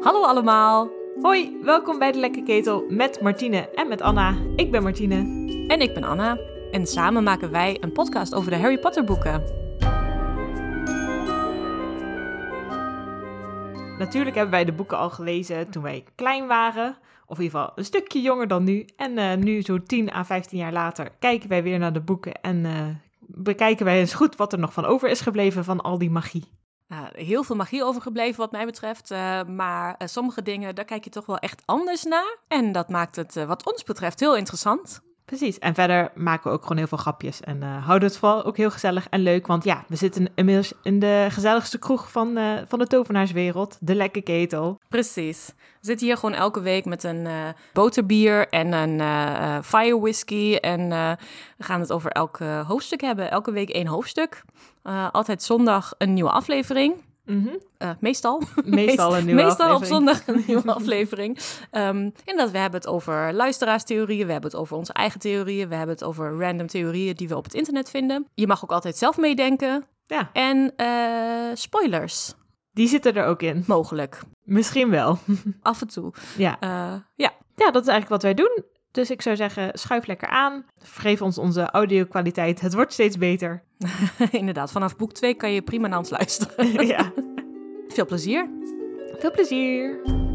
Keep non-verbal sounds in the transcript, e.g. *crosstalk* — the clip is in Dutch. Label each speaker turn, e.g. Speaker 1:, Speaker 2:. Speaker 1: Hallo allemaal.
Speaker 2: Hoi, welkom bij de Lekke Ketel met Martine en met Anna. Ik ben Martine.
Speaker 1: En ik ben Anna. En samen maken wij een podcast over de Harry Potter boeken.
Speaker 2: Natuurlijk hebben wij de boeken al gelezen toen wij klein waren. Of in ieder geval een stukje jonger dan nu. En eh, nu, zo'n 10 à 15 jaar later, kijken wij weer naar de boeken en eh, bekijken wij eens goed wat er nog van over is gebleven van al die magie.
Speaker 1: Nou, heel veel magie overgebleven wat mij betreft. eh, maar eh, sommige dingen, daar kijk je toch wel echt anders naar. En dat maakt het eh, wat ons betreft heel interessant.
Speaker 2: Precies. En verder maken we ook gewoon heel veel grapjes. En eh, houden het vooral ook heel gezellig en leuk. Want ja, we zitten inmiddels in de gezelligste kroeg van, eh, van de tovenaarswereld. De Lekke Ketel.
Speaker 1: Precies. We zitten hier gewoon elke week met een eh, boterbier en een eh, eh, fire whisky. En eh, we gaan het over elk eh, hoofdstuk hebben. Elke week één hoofdstuk. Eh, altijd zondag een nieuwe aflevering. Eh, meestal.
Speaker 2: Meestal een nieuwe
Speaker 1: Meestal
Speaker 2: aflevering.
Speaker 1: op zondag
Speaker 2: *laughs*
Speaker 1: een nieuwe aflevering. Ehm en dat we hebben het over luisteraarstheorieën, we hebben het over onze eigen theorieën, we hebben het over random theorieën die we op het internet vinden. Je mag ook altijd zelf meedenken.
Speaker 2: Ja,
Speaker 1: En eh, spoilers,
Speaker 2: die zitten er ook in.
Speaker 1: mogelijk.
Speaker 2: Misschien wel.
Speaker 1: Af en toe.
Speaker 2: Ja.
Speaker 1: Eh, ja, *laughs*
Speaker 2: ja, dat is eigenlijk wat wij doen. Dus ik zou zeggen, schuif lekker aan. Vergeef ons onze audio-kwaliteit. Het wordt steeds beter. *laughs*
Speaker 1: inderdaad. Vanaf boek
Speaker 2: *laughs*
Speaker 1: 2 kan je prima naar ons luisteren.
Speaker 2: ja.
Speaker 1: Veel plezier.
Speaker 2: Veel plezier.